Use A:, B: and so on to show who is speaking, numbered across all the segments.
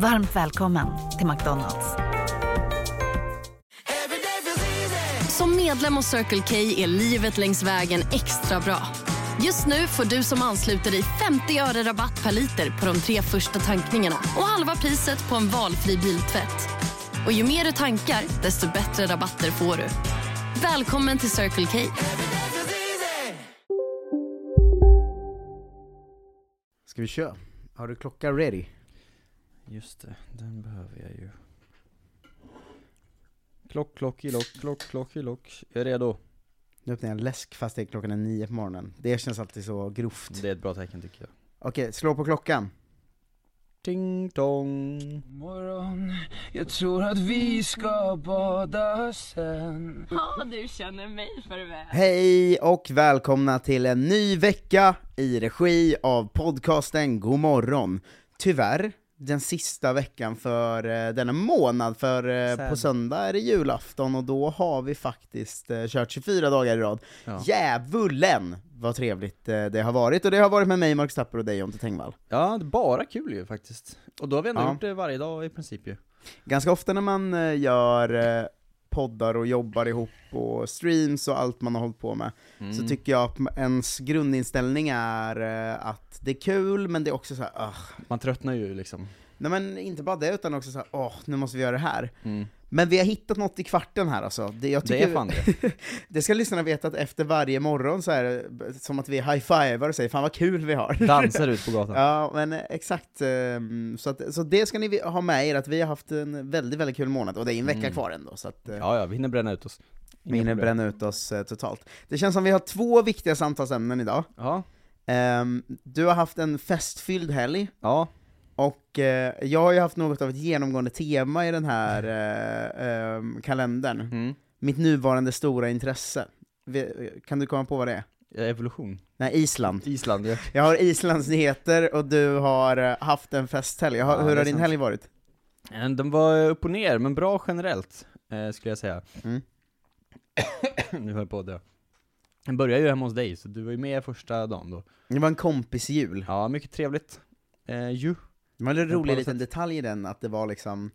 A: Varmt välkommen till McDonalds.
B: Som medlem hos Circle K är livet längs vägen extra bra. Just nu får du som ansluter dig 50 öre rabatt per liter på de tre första tankningarna och halva priset på en valfri biltvätt. Och ju mer du tankar, desto bättre rabatter får du. Välkommen till Circle K.
C: Ska vi köra? Har du klockan ready?
D: Just det, den behöver jag ju. Klock, klock, i lock, klock, klock, i lock. Jag är redo.
C: Nu öppnar jag en läsk fast det är klockan är nio på morgonen. Det känns alltid så grovt.
D: Det är ett bra tecken tycker jag.
C: Okej, slå på klockan.
D: Ding dong.
E: Morgon, jag tror att vi ska bada sen
C: Hej och välkomna till en ny vecka i regi av podcasten God morgon. Tyvärr, den sista veckan för eh, denna månad, för eh, på söndag är det julafton och då har vi faktiskt eh, kört 24 dagar i rad.
D: Ja.
C: Djävulen vad trevligt eh, det har varit, och det har varit med mig, Marcus Tapper och dig, Jonte Tengvall.
D: Ja, det är bara kul ju faktiskt. Och då har vi ändå
C: Ja.
D: gjort det varje dag i princip ju.
C: Ganska ofta när man eh, gör eh, poddar och jobbar ihop och streams och allt man har hållit på med,
D: Mm.
C: så tycker jag att ens grundinställning är eh, att det är kul, men det är också så här, "Ugh."
D: Man tröttnar ju liksom.
C: Nej men inte bara det, utan också så här, åh, nu måste vi göra det här. Men vi har hittat något i kvarten här alltså. Det, jag
D: Mm. Det
C: tycker,
D: är fan det.
C: det ska lyssnarna veta att efter varje morgon så är det som att vi high-fivar och säger 'Fan vad kul vi har'
D: Dansar ut på gatan.
C: Ja, men eh, exakt. ehm, Så, att, så det ska ni vi- ha med er, att vi har haft en väldigt, väldigt kul månad, och det är en vecka
D: Mm.
C: kvar ändå, så att eh,
D: Ja, ja, vi hinner bränna ut oss. Inga
C: vi hinner
D: problem.
C: bränna ut oss eh, totalt. Det känns som vi har två viktiga samtalsämnen idag.
D: Ja,
C: Ehm, Du har haft en festfylld helg,
D: ja.
C: och eh, jag har ju haft något av ett genomgående tema i den här eh, ehm, kalendern.
D: Mm.
C: Mitt nuvarande stora intresse. Vi- eh, Kan du komma på vad det är?
D: Evolution.
C: Nej, Island.
D: Island ja.
C: Jag har Islands nyheter och du har eh, haft en festhelg. Jag har-
D: Ja,
C: Hur
D: det
C: har
D: är
C: din
D: sant.
C: helg varit?
D: Eh, Den var upp och ner, men bra generellt, eh, skulle jag säga.
C: Mm.
D: nu höll jag på att dö. Den började ju hemma hos dig, så du var ju med första dagen då.
C: Det var en kompisjul.
D: Ja, mycket trevligt. Eh, ju.
C: Det var en
D: Ja, på
C: rolig
D: alla
C: liten detalj i den, att det var liksom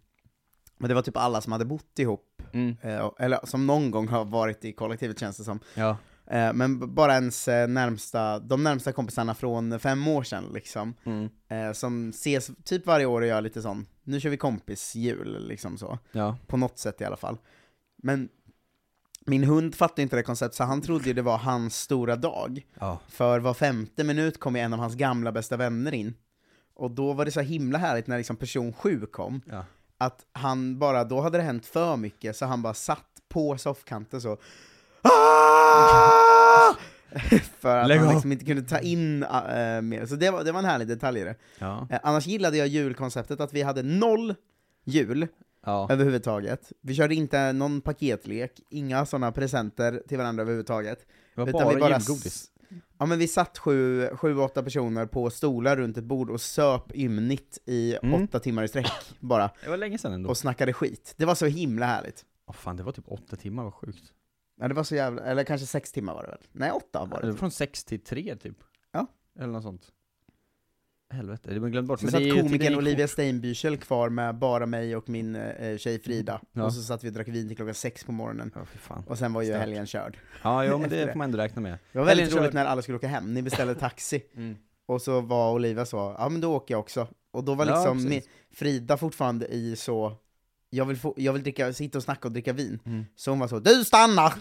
C: men det var typ alla som hade bott ihop,
D: Mm.
C: eh, och- eller som någon gång har varit i kollektivet känns det som.
D: Ja.
C: Eh, Men b- bara ens eh, närmsta, de närmsta kompisarna från fem år sedan liksom,
D: Mm.
C: eh, som ses typ varje år och gör lite sån, nu kör vi kompisjul liksom så.
D: Ja.
C: På något sätt i alla fall. Men min hund fattade inte det konceptet, så han trodde ju det var hans stora dag.
D: Ja.
C: För var femte minut kom ju en av hans gamla bästa vänner in. Och då var det så himla härligt när liksom person sju kom,
D: Ja.
C: att han bara, då hade det hänt för mycket, så han bara satt på soffkanten så "Ah!" För att
D: Lägg
C: han
D: av.
C: liksom inte kunde ta in äh, mer. Så det var, det var en härlig detalj i det.
D: Ja.
C: Eh, annars gillade jag julkonceptet, att vi hade noll jul
D: Ja.
C: överhuvudtaget. Vi körde inte någon paketlek, inga sådana presenter till varandra överhuvudtaget.
D: Det var
C: Utan
D: bara,
C: vi
D: julgodis.
C: s- Ja men vi satt sju, sju, åtta personer på stolar runt ett bord och söp ymnigt i
D: Mm.
C: åtta timmar i sträck bara,
D: Det var länge sedan ändå.
C: och snackade skit. Det var så himla härligt.
D: Åh fan, det var typ åtta timmar, vad sjukt.
C: Ja, det var så jävla, eller kanske sex timmar var det väl? Nej, åtta var
D: det var
C: det.
D: från sex till tre typ.
C: Ja.
D: Eller något sånt. Helvete, det var glömt bort.
C: Sen
D: det
C: satt
D: är ju
C: komikern
D: teknik-
C: Olivia Steinbüchel kvar med bara mig och min eh, tjej Frida,
D: Ja.
C: och så satt vi och drack vin till klockan sex på morgonen,
D: Ja, fy fan.
C: och sen var ju
D: Stört.
C: helgen körd.
D: Ja, jo, men
C: Efter
D: det
C: det.
D: får man ändå räkna med.
C: Det var väldigt
D: Helgen
C: roligt
D: körd.
C: när alla skulle åka hem, ni beställde taxi,
D: Mm.
C: och så var Olivia så, ja men då åker jag också. Och då var
D: Ja,
C: liksom
D: precis.
C: min, Frida fortfarande i så, jag vill, få, jag vill dricka, sitta och snacka och dricka vin.
D: Mm.
C: Så hon var så, du stannar!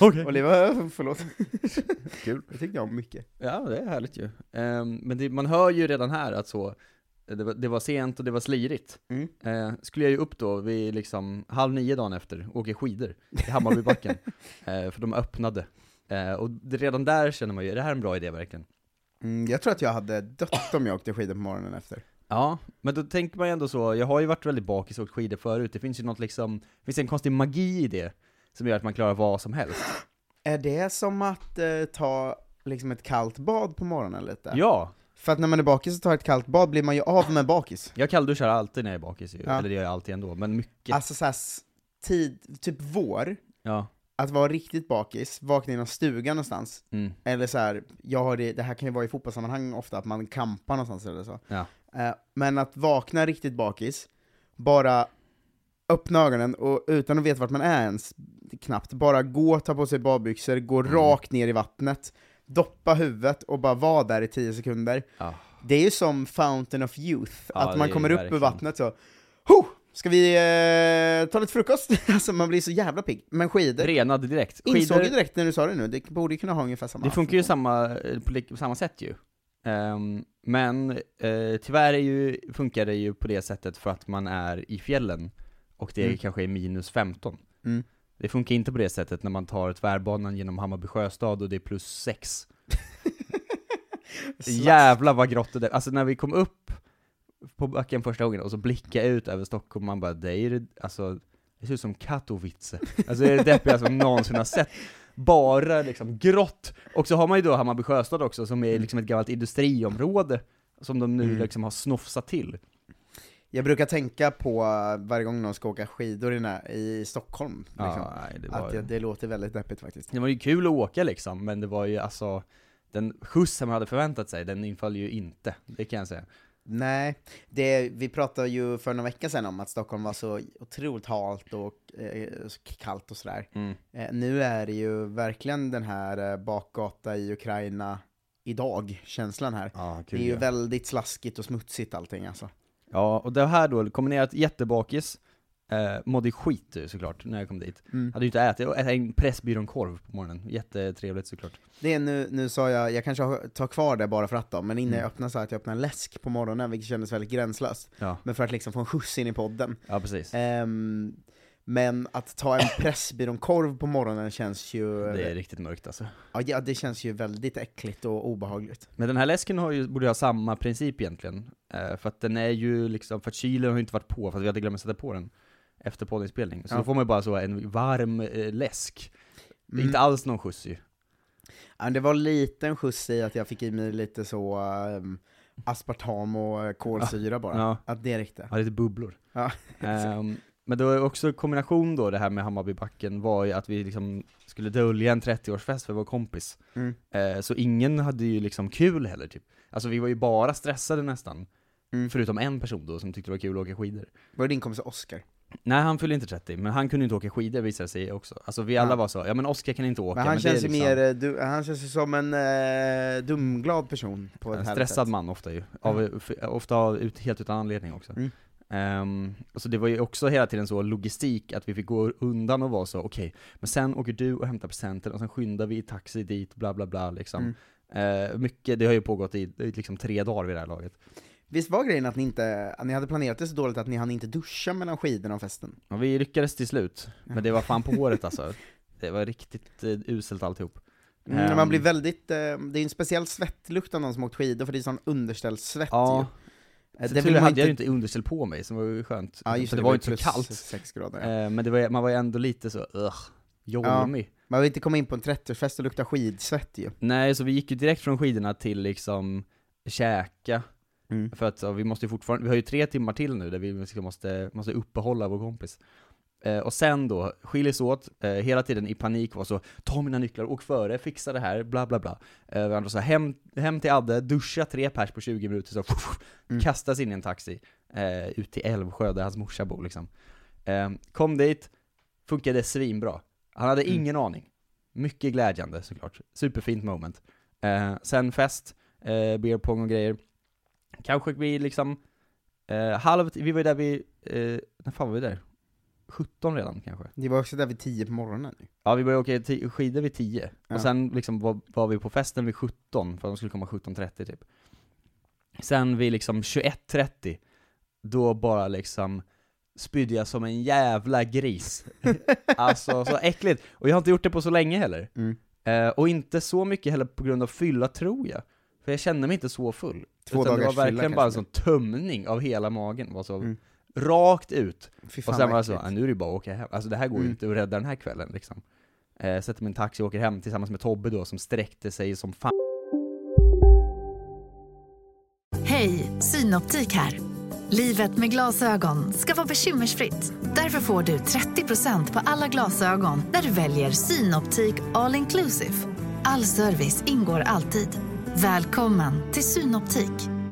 D: Okej.
C: Olivia, "Äh, förlåt.
D: Kul.
C: Det tyckte jag om mycket.
D: Ja, det är härligt ju. Ehm, men det, man hör ju redan här att så, det var, det var sent och det var slirigt.
C: Mm.
D: Eh, skulle jag ju upp då vid liksom halv nio dagen efter och åker skidor i Hammarbybacken. eh, för de öppnade. Eh, och det, redan där känner man ju, är det här en bra idé verkligen?
C: Mm, jag tror att jag hade dött om jag åkte skidor på morgonen efter.
D: Ja, men då tänker man ju ändå så, jag har ju varit väldigt bakis och åkt skidor förut, det finns ju något liksom, det finns en konstig magi i det som gör att man klarar vad som helst.
C: Är det som att eh, ta liksom ett kallt bad på morgonen lite?
D: Ja,
C: För att när man är bakis och tar ett kallt bad blir man ju av med bakis.
D: jag kallduschar alltid när jag är bakis ju,
C: Ja.
D: eller det gör jag alltid ändå, men mycket.
C: Alltså såhär, s- tid, typ vår,
D: ja.
C: att vara riktigt bakis, vakna i någon stuga någonstans,
D: Mm.
C: eller så här, jag har det, det här kan ju vara i fotbollssammanhang ofta, att man kampar någonstans eller så.
D: Ja.
C: Eh, Men att vakna riktigt bakis, bara öppna ögonen och utan att veta vart man är ens, knappt, bara gå, ta på sig badbyxor, gå
D: Mm.
C: rakt ner i vattnet, doppa huvudet och bara vara där i 10 sekunder.
D: Ja.
C: Det är ju som Fountain of Youth,
D: Ja,
C: att
D: det
C: man
D: är
C: kommer upp ur
D: verkligen.
C: vattnet så, ho! Ska vi eh, ta lite frukost? alltså man blir så jävla pigg. Men skidor,
D: Renad direkt.
C: insåg ju direkt när du sa det nu, det borde ju kunna ha ungefär samma
D: Det funkar ju samma, eh, på, lik- på samma sätt ju. Ehm, men eh, tyvärr är ju, funkar det ju på det sättet för att man är i fjällen och det
C: Mm.
D: kanske är minus 15.
C: Mm.
D: Det funkar inte på det sättet när man tar tvärbanan genom Hammarby sjöstad och det är plus 6.
C: Slask.
D: Jävlar vad grått det där. Alltså när vi kom upp på backen första gången och så blickade jag ut över Stockholm man bara det är det, alltså det ser ut som Katowice. Alltså det är det deppigaste jag någonsin har sett. Bara liksom grått. Och så har man ju då Hammarby sjöstad också som är liksom ett gammalt industriområde som de nu
C: Mm.
D: liksom har snofsat till.
C: Jag brukar tänka på varje gång någon ska åka skidor i, nä- i Stockholm, liksom.
D: Ja, nej, det,
C: att
D: var,
C: det,
D: ju-
C: det låter väldigt deppigt faktiskt.
D: det var ju kul att åka liksom, men det var ju alltså den skjuts som man hade förväntat sig, den inföll ju inte. Det kan jag säga.
C: Nej, det, vi pratade ju för några veckor sedan om att Stockholm var så otroligt halt och eh, så kallt och sådär. Eh, nu är det ju verkligen den här eh, bakgata i Ukraina idag-känslan här.
D: Ja,
C: det är ju väldigt slaskigt och smutsigt allting alltså.
D: Ja, och det här då, kombinerat jättebakis, eh, mådde skit ju såklart när jag kom dit.
C: Mm.
D: Hade ju inte ätit, och ätit en Pressbyrån-korv på morgonen, jättetrevligt såklart.
C: Det är nu, nu sa jag, jag kanske har- tar kvar det bara för att då, men innan
D: Mm.
C: jag öppnade sa jag att jag öppnade en läsk på morgonen, vilket kändes väldigt gränslöst.
D: Ja,
C: Men för att liksom få en skjuts in i podden.
D: ja precis.
C: Ehm, men att ta en Pressbyrån-korv på morgonen känns ju,
D: Det är riktigt mörkt alltså.
C: ja, ja, det känns ju väldigt äckligt och obehagligt.
D: Men den här läsken har ju, borde ju ha samma princip egentligen. Eh, för att den är ju liksom, för att kylen har ju inte varit på, för att vi hade glömt att sätta på den efter poddinspelning. Så
C: Ja.
D: då får man ju bara så en varm eh, läsk. Det är
C: Mm.
D: Inte alls någon skjuts ju.
C: Ja, men det var en liten skjuts i att jag fick i mig lite så ehm, aspartam och eh, kolsyra bara.
D: Ja.
C: Att det räckte.
D: Ja, lite bubblor.
C: Ja,
D: Ehm, men det var ju också kombination då, det här med Hammarbybacken, var ju att vi liksom skulle dölja en 30-årsfest för vår kompis.
C: Mm.
D: Eh, så ingen hade ju liksom kul heller typ. Alltså vi var ju bara stressade nästan.
C: Mm.
D: Förutom en person då som tyckte det var kul att åka skidor.
C: Var det din kompis Oscar?
D: Nej han fyllde inte 30, men han kunde inte åka skidor visade det sig också. Alltså vi alla
C: Ja.
D: var så, ja men Oskar kan inte åka.
C: Men han
D: det
C: känns
D: är
C: ju
D: liksom
C: mer, eh, du, han känns ju som en eh, dumglad person på ett
D: En
C: härligt
D: stressad
C: sätt.
D: man ofta ju, av, f- ofta av, ut, helt utan anledning också.
C: Mm.
D: Ehm, och så det var ju också hela tiden så logistik, att vi fick gå undan och vara så, okej, men sen åker du och hämtar presenten och sen skyndar vi i taxi dit, bla bla bla liksom.
C: Mm.
D: Ehm, mycket, det har ju pågått i, i liksom tre dagar vid det här laget.
C: Visst var grejen att ni inte, att ni hade planerat det så dåligt att ni hann inte duscha mellan skidorna och festen?
D: Och vi lyckades till slut, men det var fan på håret alltså. Det var riktigt eh, uselt alltihop.
C: Mm,
D: Ehm,
C: man blir väldigt, eh, det är ju en speciell svettlukt av någon som åkt skidor, för det är sån underställssvett ju.
D: Ja,
C: Eh,
D: det tur hade jag ju inte underställ på mig, som var ju skönt.
C: Ja, just
D: för
C: det,
D: det, var ju inte så
C: plus
D: kallt.
C: 6 grader. ja.
D: Eh, Men det var, ju- man var ju ändå lite så, ugh, jolmig.
C: Man vill inte komma in på en 30-årsfest och lukta skidsvett ju.
D: Nej, så vi gick ju direkt från skidorna till liksom käka.
C: Mm.
D: För att så, vi måste ju fortfarande, vi har ju tre timmar till nu där vi liksom måste, måste uppehålla vår kompis. Eh, och sen då, skiljs åt, eh, hela tiden i panik var så, ta mina nycklar, åk före, fixa det här, bla bla bla. Eh, vi andra så, hem, hem till Adde, duscha tre pers på 20 minuter, så
C: Mm.
D: kastas in i en taxi. Eh, ut till Älvsjö där hans morsa bor liksom. Eh, kom dit, funkade svinbra. Han hade
C: Mm.
D: ingen aning. Mycket glädjande såklart. Superfint moment. Eh, sen fest, eh, beer pong och grejer. Kanske vi liksom, eh, halv, vi var ju där vid, eh, när fan var vi där? 17 redan kanske?
C: Det var också där vid 10 på morgonen. ju.
D: Ja vi började åka ti- skidor vid 10,
C: Ja.
D: och sen liksom var, var vi på festen vid 17, för de skulle komma 17.30 typ. Sen vid liksom 21.30, då bara liksom spydde jag som en jävla gris. alltså så äckligt. Och jag har inte gjort det på så länge heller.
C: Mm.
D: Eh, och inte så mycket heller på grund av fylla tror jag. För jag kände mig inte så full.
C: Två
D: utan det var
C: dagars fylla
D: verkligen bara en sån
C: kanske.
D: tömning av hela magen, var så
C: Mm.
D: rakt ut.
C: Fy
D: och
C: fan
D: sen var
C: vad
D: jag så, "Ah,
C: äckligt.
D: nu är det bara att åka hem. Alltså det här går ju
C: Mm.
D: inte att rädda den här kvällen liksom. Eh, sätter mig i en taxi och åker hem tillsammans med Tobbe då, som sträckte sig som fan.
A: Hej, Synoptik här. Livet med glasögon ska vara bekymmersfritt. Därför får du 30% på alla glasögon när du väljer Synoptik All Inclusive. All service ingår alltid. Välkommen till Synoptik.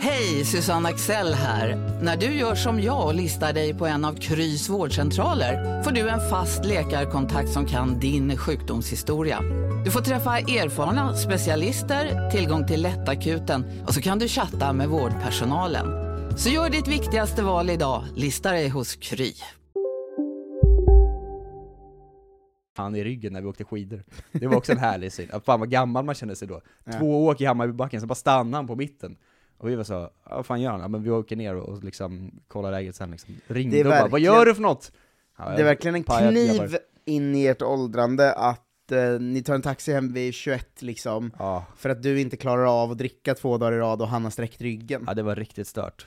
F: Hej, Susanne Axel här. När du gör som jag och listar dig på en av Krys vårdcentraler får du en fast läkarkontakt som kan din sjukdomshistoria. Du får träffa erfarna specialister, tillgång till lättakuten och så kan du chatta med vårdpersonalen. Så gör ditt viktigaste val idag, listar dig hos Kry.
D: han i ryggen när vi åkte skidor. Det var också en härlig syn. Att Fan vad gammal man kände sig då.
C: Ja.
D: Två åk i Hammarbybacken, så bara stannade han på mitten. Och vi var så, "Ja, vad fan gör han? Ja, men vi åker ner och, och liksom kollar läget sen liksom. Ringde
C: Det är
D: och bara, vad
C: verkligen-
D: gör du för något? Ja,
C: Det är verkligen en
D: pajat
C: kniv
D: grabbar.
C: in i ert åldrande att eh, ni tar en taxi hem vid 21 liksom,
D: Ja,
C: för att du inte klarar av att dricka två dagar i rad och han har sträckt ryggen.
D: ja, det var riktigt stört.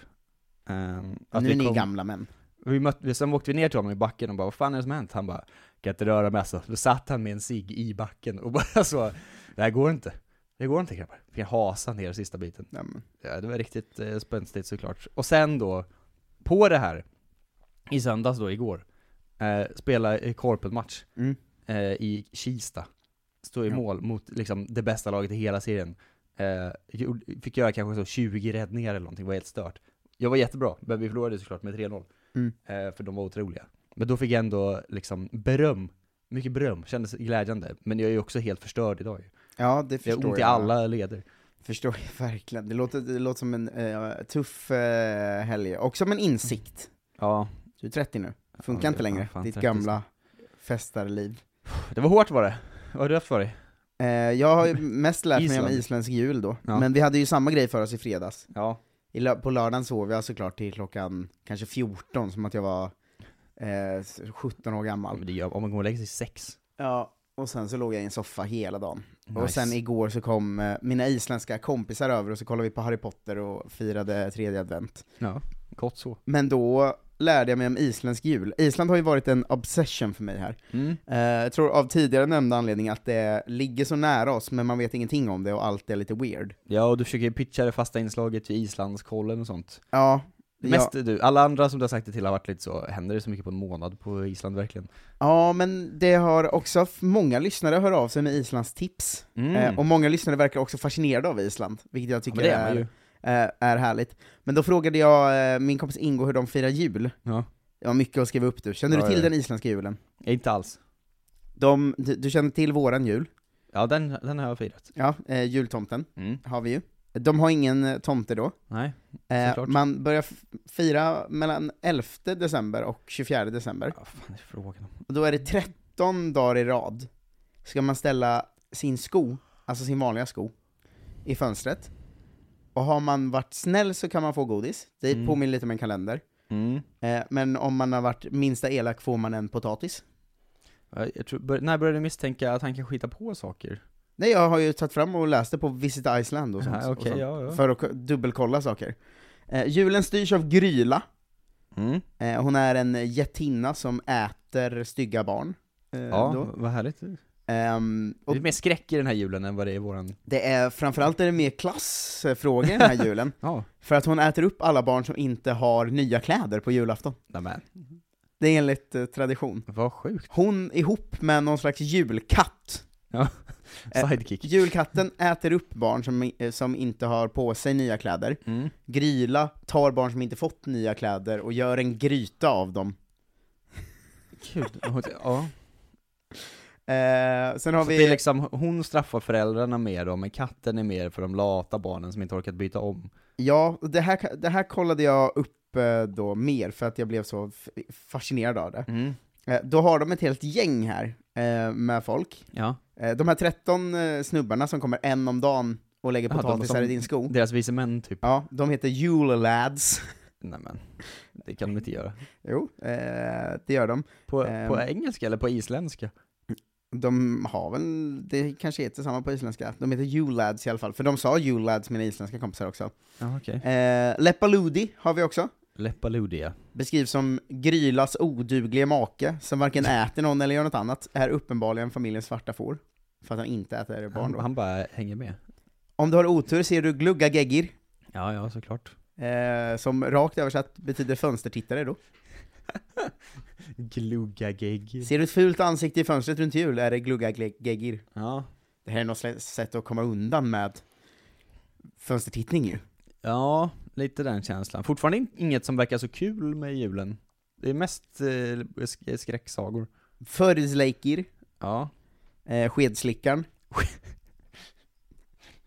D: Ehm, att
C: nu
D: vi
C: är ni
D: kom-
C: gamla män.
D: Vi mötte, sen åkte vi ner till honom i backen och bara vad fan är det som har hänt? Han bara, kan inte röra mig alltså. Då satt han med en cigg i backen och bara så, det här går inte. Det går inte grabbar. Fick jag hasa ner sista biten.
C: Ja, men.
D: Ja, det var riktigt eh, spänstigt såklart. Och sen då, på det här, i söndags då, igår, eh, spela i korpenmatch
C: Mm.
D: eh, i Kista. Stod i
C: Ja.
D: mål mot liksom det bästa laget i hela serien. Eh, gjorde- fick göra kanske så 20 räddningar eller någonting, var helt stört. Jag var jättebra, men vi förlorade såklart med 3-0.
C: Mm.
D: Eh, för de var otroliga. Men då fick jag ändå liksom beröm. Mycket beröm, kändes glädjande. Men jag är ju också helt förstörd idag ju.
C: ja det
D: Jag
C: förstår
D: har ont i alla leder.
C: Förstår jag verkligen. Det låter, det låter som en eh, tuff eh, helg, och som en insikt.
D: Ja,
C: Du är 30 nu, funkar
D: Ja,
C: inte
D: det-
C: längre,
D: ja, fan,
C: ditt
D: 30.
C: gamla festarliv.
D: det var hårt var det. Vad har du haft för dig?
C: Eh, jag har ju mest lärt mig om
D: Island.
C: isländsk jul då,
D: Ja.
C: men vi hade ju samma grej för oss i fredags.
D: Ja,
C: I lö- på lördagen sov jag såklart till klockan kanske 14, som att jag var eh,
D: Ja,
C: 17 år
D: men
C: gammal.
D: det gör, om man går och lägger sig sex.
C: Ja, och sen så låg jag i en soffa hela dagen. Och
D: Nice.
C: sen igår så kom eh, mina isländska kompisar över och så kollade vi på Harry Potter och firade tredje advent.
D: Ja, gott så.
C: Men då lärde jag mig om isländsk jul. Island har ju varit en obsession för mig här.
D: Mm.
C: Eh, jag tror av tidigare nämnda anledning att det ligger så nära oss, men man vet ingenting om det och allt är lite weird.
D: Ja, och du försöker ju pitcha det fasta inslaget till Islandskollen och sånt.
C: Ja,
D: Mest
C: ja,
D: du, alla andra som du har sagt det till har varit lite så, händer det så mycket på en månad på Island verkligen?
C: ja, men det har också, många lyssnare hör av sig med Islands tips.
D: Mm.
C: Eh, och många lyssnare verkar också fascinerade av Island, vilket jag
D: ja,
C: tycker
D: men det är man
C: är,
D: ju.
C: eh, är härligt. Men då frågade jag eh, min kompis Ingo hur de firar jul.
D: Ja.
C: Det var mycket att skriva upp du. Känner
D: Ja,
C: du till
D: ja.
C: den isländska julen?
D: Ja, Eh, Inte alls.
C: De, du, du känner till våran jul,
D: Ja, den, den har jag firat.
C: ja, eh, jultomten
D: Mm.
C: har vi ju. De har ingen eh, tomte då.
D: Nej.
C: Eh,
D: Såklart.
C: man börjar f- fira mellan 11 december och 24 december.
D: Ja, fan är det frågan om?
C: Och då är det 13 dagar i rad ska man ställa sin sko, alltså sin vanliga sko, i fönstret. Och har man varit snäll så kan man få godis. Det
D: Mm.
C: påminner lite om en kalender.
D: Mm.
C: Eh, men om man har varit minsta elak får man en potatis.
D: Ja, Jag tror, bör, när började du misstänka att han kan skita på saker?
C: Nej, jag har ju tagit fram och läst det på Visit Iceland och sånt.
D: Ja,
C: och
D: okej,
C: sånt
D: ja, ja.
C: För att k- dubbelkolla saker. Eh, julen styrs av Gryla.
D: Mm.
C: Eh, hon är en jättinna som äter stygga barn. Eh,
D: Ja,
C: då.
D: vad härligt.
C: Ehm,
D: Det
C: och
D: är mer skräck i den här julen än vad det är i våran...
C: det är framförallt är det mer klassfrågor den här julen.
D: Ja.
C: För att hon äter upp alla barn som inte har nya kläder på julafton.
D: Nämen,
C: Det är enligt eh, tradition.
D: vad sjukt.
C: Hon ihop med någon slags julkatt. Eh,
D: Sidekick.
C: Julkatten äter upp barn som, eh, som inte har på sig nya kläder.
D: Mm.
C: Gryla tar barn som inte fått nya kläder och gör en gryta av dem.
D: Kul. Ja.
C: Eh, sen har
D: Så det är
C: vi...
D: liksom, hon straffar föräldrarna mer då, men katten är mer för de lata barnen som inte orkat byta om.
C: Ja, och det här, det här kollade jag upp eh, då mer för att jag blev så f- fascinerad av det. Eh, Då har de ett helt gäng här eh, med folk.
D: Ja.
C: Eh, De här 13 eh, snubbarna som kommer en om dagen och lägger
D: Ja, de
C: potatisar
D: som-
C: i din sko.
D: Deras vise män typ.
C: Ja, de heter Yule Lads.
D: Nej men, det kan de inte göra.
C: Jo, eh, det gör de.
D: På,
C: Ehm.
D: på engelska eller på isländska?
C: De har väl, det kanske heter samma på isländska. De heter Yule Lads i alla fall, för de sa Yule Lads, mina isländska kompisar också.
D: Ja okej.
C: Eh, Leppaludi har vi också.
D: Leppaludia.
C: Beskrivs som Grylas oduglige make, som varken äter någon eller gör något annat, är uppenbarligen familjens svarta får. För att han inte äter barn
D: Han,
C: då.
D: han bara hänger med.
C: Om du har otur ser du Glugga Geggir,
D: Ja, ja såklart.
C: eh, som rakt översatt betyder fönstertittare då.
D: Glugga gegg.
C: Ser du ett fult ansikte i fönstret runt jul är det Glugga Gleg- Geggir.
D: Ja.
C: Det här är något slä- sätt att komma undan med fönstertittning ju.
D: ja, lite den känslan. Fortfarande in- inget som verkar så kul med julen. Det är mest eh, sk- skräcksagor.
C: Förisleikir,
D: Ja.
C: eh, Skedslickaren.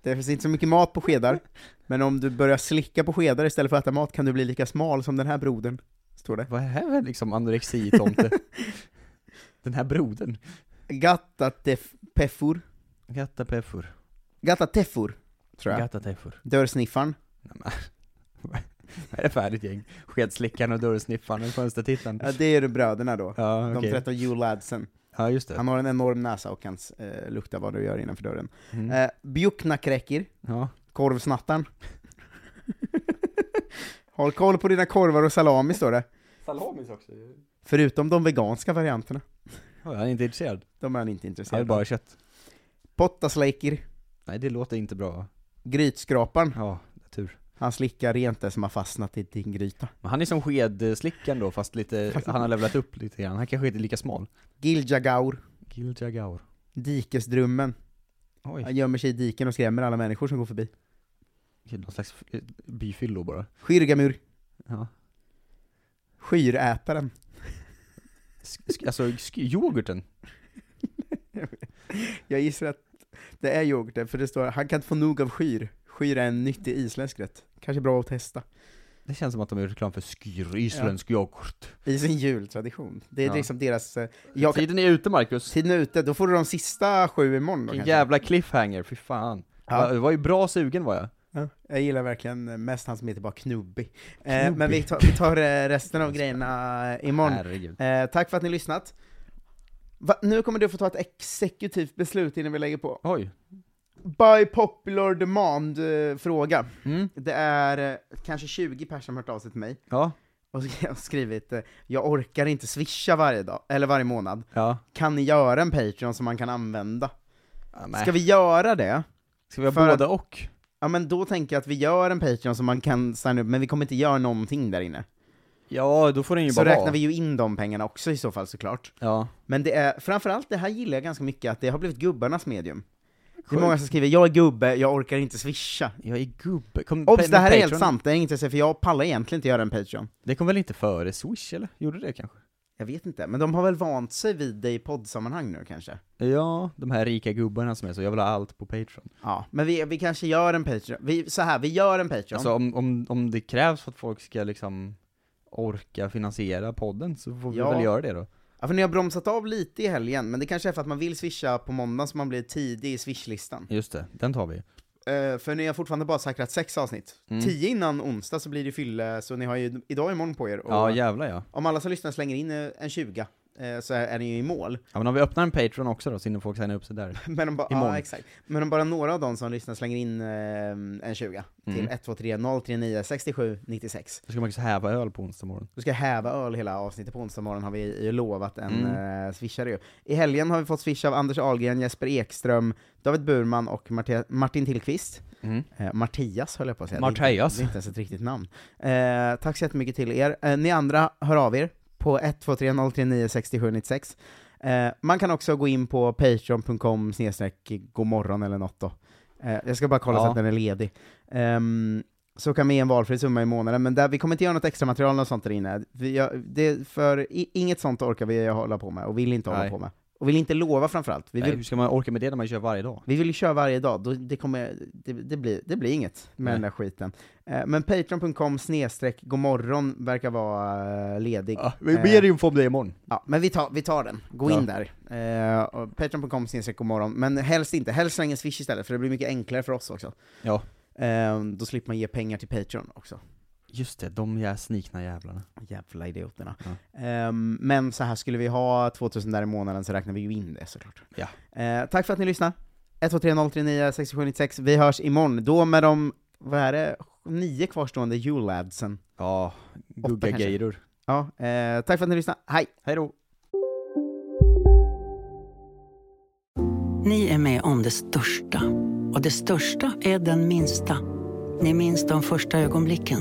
C: Det finns inte så mycket mat på skedar, men om du börjar slicka på skedar istället för att äta mat kan du bli lika smal som den här brodern, står det.
D: Vad är det här för liksom anorexitomte? den här brodern.
C: Gattateffur,
D: Gattapeffur.
C: Gattateffur, tror jag.
D: Gattateffur.
C: Dörrsniffaren.
D: Nej, men. Vad är det för ett gäng? Skedslickaren och dörrsniffaren och fönstertittaren.
C: Ja, det är ju bröderna då.
D: Ja,
C: De
D: okej.
C: 13 juladsen.
D: Ja, just det.
C: Han har en enorm näsa och kan eh, lukta vad du gör innanför dörren.
D: Mm.
C: Eh, Bjuknakräkir,
D: Ja.
C: korvsnattaren. Håll koll på dina korvar och salami, står det.
D: Salamis också.
C: Förutom de veganska varianterna.
D: Jag är inte intresserad.
C: De är han inte
D: Jag
C: intresserad
D: vill
C: av.
D: bara ha kött.
C: Pottasleikir,
D: Nej, det låter inte bra.
C: grytskraparen.
D: Ja, tur.
C: Han slickar rent det som har fastnat i din gryta.
D: Men han är som skedslickaren då, fast lite, han har levlat upp lite grann. Han kanske inte är lika smal.
C: Giljagaur,
D: Gildjagaur.
C: dikesdrummen. Han
D: Oj,
C: gömmer sig i diken och skrämmer alla människor som går förbi.
D: någon slags eh, byfyllo bara.
C: Skyrgamur,
D: Ja.
C: skyrätaren.
D: Sk- sk- alltså, sk- yoghurten.
C: Jag gissar att det är yoghurten, för det står han kan inte få nog av skyr. Skyr är en nyttig isländsk rätt. Kanske bra att testa.
D: Det känns som att de är reklam för skyr, isländsk yoghurt.
C: I sin jultradition. Det är
D: Ja.
C: liksom deras... eh, Jag kan,
D: Tiden är typ- ute Marcus.
C: tiden är ute, då får du de sista sju imorgon då,
D: Vilken
C: kanske.
D: jävla cliffhanger, fy fan.
C: Ja.
D: Ja. Det var ju bra sugen var jag.
C: Ja, jag gillar verkligen eh, mest han som heter bara Knubbi. Eh, men vi tar, vi tar eh, resten av grejerna eh, imorgon.
D: Herregud.
C: Eh, tack för att ni har lyssnat. Va? Nu kommer du få ta ett exekutivt beslut innan vi lägger på.
D: Oj.
C: By popular demand eh, fråga.
D: Mm.
C: Det är eh, kanske 20 personer som har hört av sig till mig
D: Ja.
C: och så har jag skrivit eh, “Jag orkar inte swisha varje dag, eller varje månad.
D: Ja.
C: Kan ni göra en Patreon som man kan använda?”
D: nej.
C: Ska vi göra det?
D: Ska vi ha
C: För
D: både och?
C: Ja men då tänker jag att vi gör en Patreon som man kan signa upp, men vi kommer inte göra någonting där inne.
D: Ja, då får den ju
C: Så
D: bara
C: räknar
D: vara.
C: vi ju in de pengarna också i så fall såklart.
D: Ja.
C: Men det är, framförallt det här gillar jag ganska mycket, att det har blivit gubbarnas medium. Det är många som skriver 'Jag är gubbe, jag orkar inte swisha'
D: Jag är gubbe. Kom,
C: Obs,
D: pa-
C: det här är helt
D: Patreon-
C: sant, det är inget jag säger, för jag pallar egentligen inte göra en Patreon.
D: Det kom väl inte före Swish eller? Gjorde det kanske?
C: Jag vet inte, men de har väl vant sig vid det i poddsammanhang nu kanske?
D: Ja, de här rika gubbarna som är så, jag vill ha allt på Patreon.
C: Ja, men vi, vi kanske gör en Patreon, vi, så här, vi gör en Patreon.
D: Alltså om, om, om det krävs för att folk ska liksom orka finansiera podden så får vi
C: Ja.
D: väl göra det då.
C: ja, för ni har bromsat av lite i helgen, men det kanske är för att man vill swisha på måndag så man blir tidig i swishlistan.
D: Just det, den tar vi.
C: Eh, för ni har fortfarande bara säkrat sex avsnitt.
D: Mm.
C: Tio innan onsdag så blir det fylle, så ni har ju idag och imorgon på er. Och
D: Ja, jävlar ja.
C: Om alla som lyssnar slänger in eh, en 20 eh, så är är ni ju i mål.
D: Ja men om vi öppnar en Patreon också då, så hinner folk signa upp sig där.
C: Men om, ba-
D: Imorgon.
C: ja, exakt. Men om bara några av de som lyssnar slänger in eh, en 20
D: Mm.
C: till 123 039 67 96.
D: Då ska man också häva öl på onsdag morgon.
C: Då ska jag häva öl hela avsnittet på onsdag morgon har vi ju lovat en mm. swishare ju. I helgen har vi fått swisha av Anders Ahlgren, Jesper Ekström, David Burman och Marte- Martin Tillqvist.
D: Mm.
C: Eh, Martias höll jag på att säga.
D: Martias.
C: Det är inte ens ett riktigt namn. Eh, tack så jättemycket till er. Eh, ni andra, hör av er på 1230396796. Eh, man kan också gå in på patreon.com snedstreck godmorgon eller något då. Eh, jag ska bara kolla så
D: Ja.
C: att den är ledig. Ehm, så kan vi ge en valfri summa i månaden, men där, vi kommer inte göra något extra material och sånt där inne. Vi, gör- det, för i, inget sånt orkar vi hålla på med, och vill inte hålla
D: Nej.
C: på med. Och vill inte lova framförallt. Vi
D: Nej,
C: vill,
D: hur ska man orka med det när man kör varje dag?
C: vi vill ju köra varje dag, då det, kommer, det, det, blir, det blir inget med
D: Nej.
C: den där skiten. Eh, Men patreon.com snedstreck godmorgon verkar vara eh, ledig.
D: Ja,
C: Eh,
D: vi ber info om det imorgon.
C: Ja, men vi tar, vi tar den. Gå
D: Ja.
C: in där. Eh, och Patreon.com snedstreck godmorgon, men helst inte. Helst släng en swish istället, för det blir mycket enklare för oss också.
D: Ja.
C: Eh, då slipper man ge pengar till Patreon också.
D: Just det, de jä- snikna jävlarna.
C: Jävla idioterna. Ehm, men så här skulle vi ha 2000 där i månaden så räknar vi ju in det såklart.
D: Ja.
C: Eh, tack för att ni lyssnar. 123039 6796. Vi hörs imorgon, då med de, vad är det, nio kvarstående julabsen.
D: Ja, gugga
C: kanske.
D: gejror.
C: Ja, eh, tack för att ni lyssnar. Hej!
D: Hej då!
F: Ni är med om det största. Och det största är den minsta. Ni minns de första ögonblicken.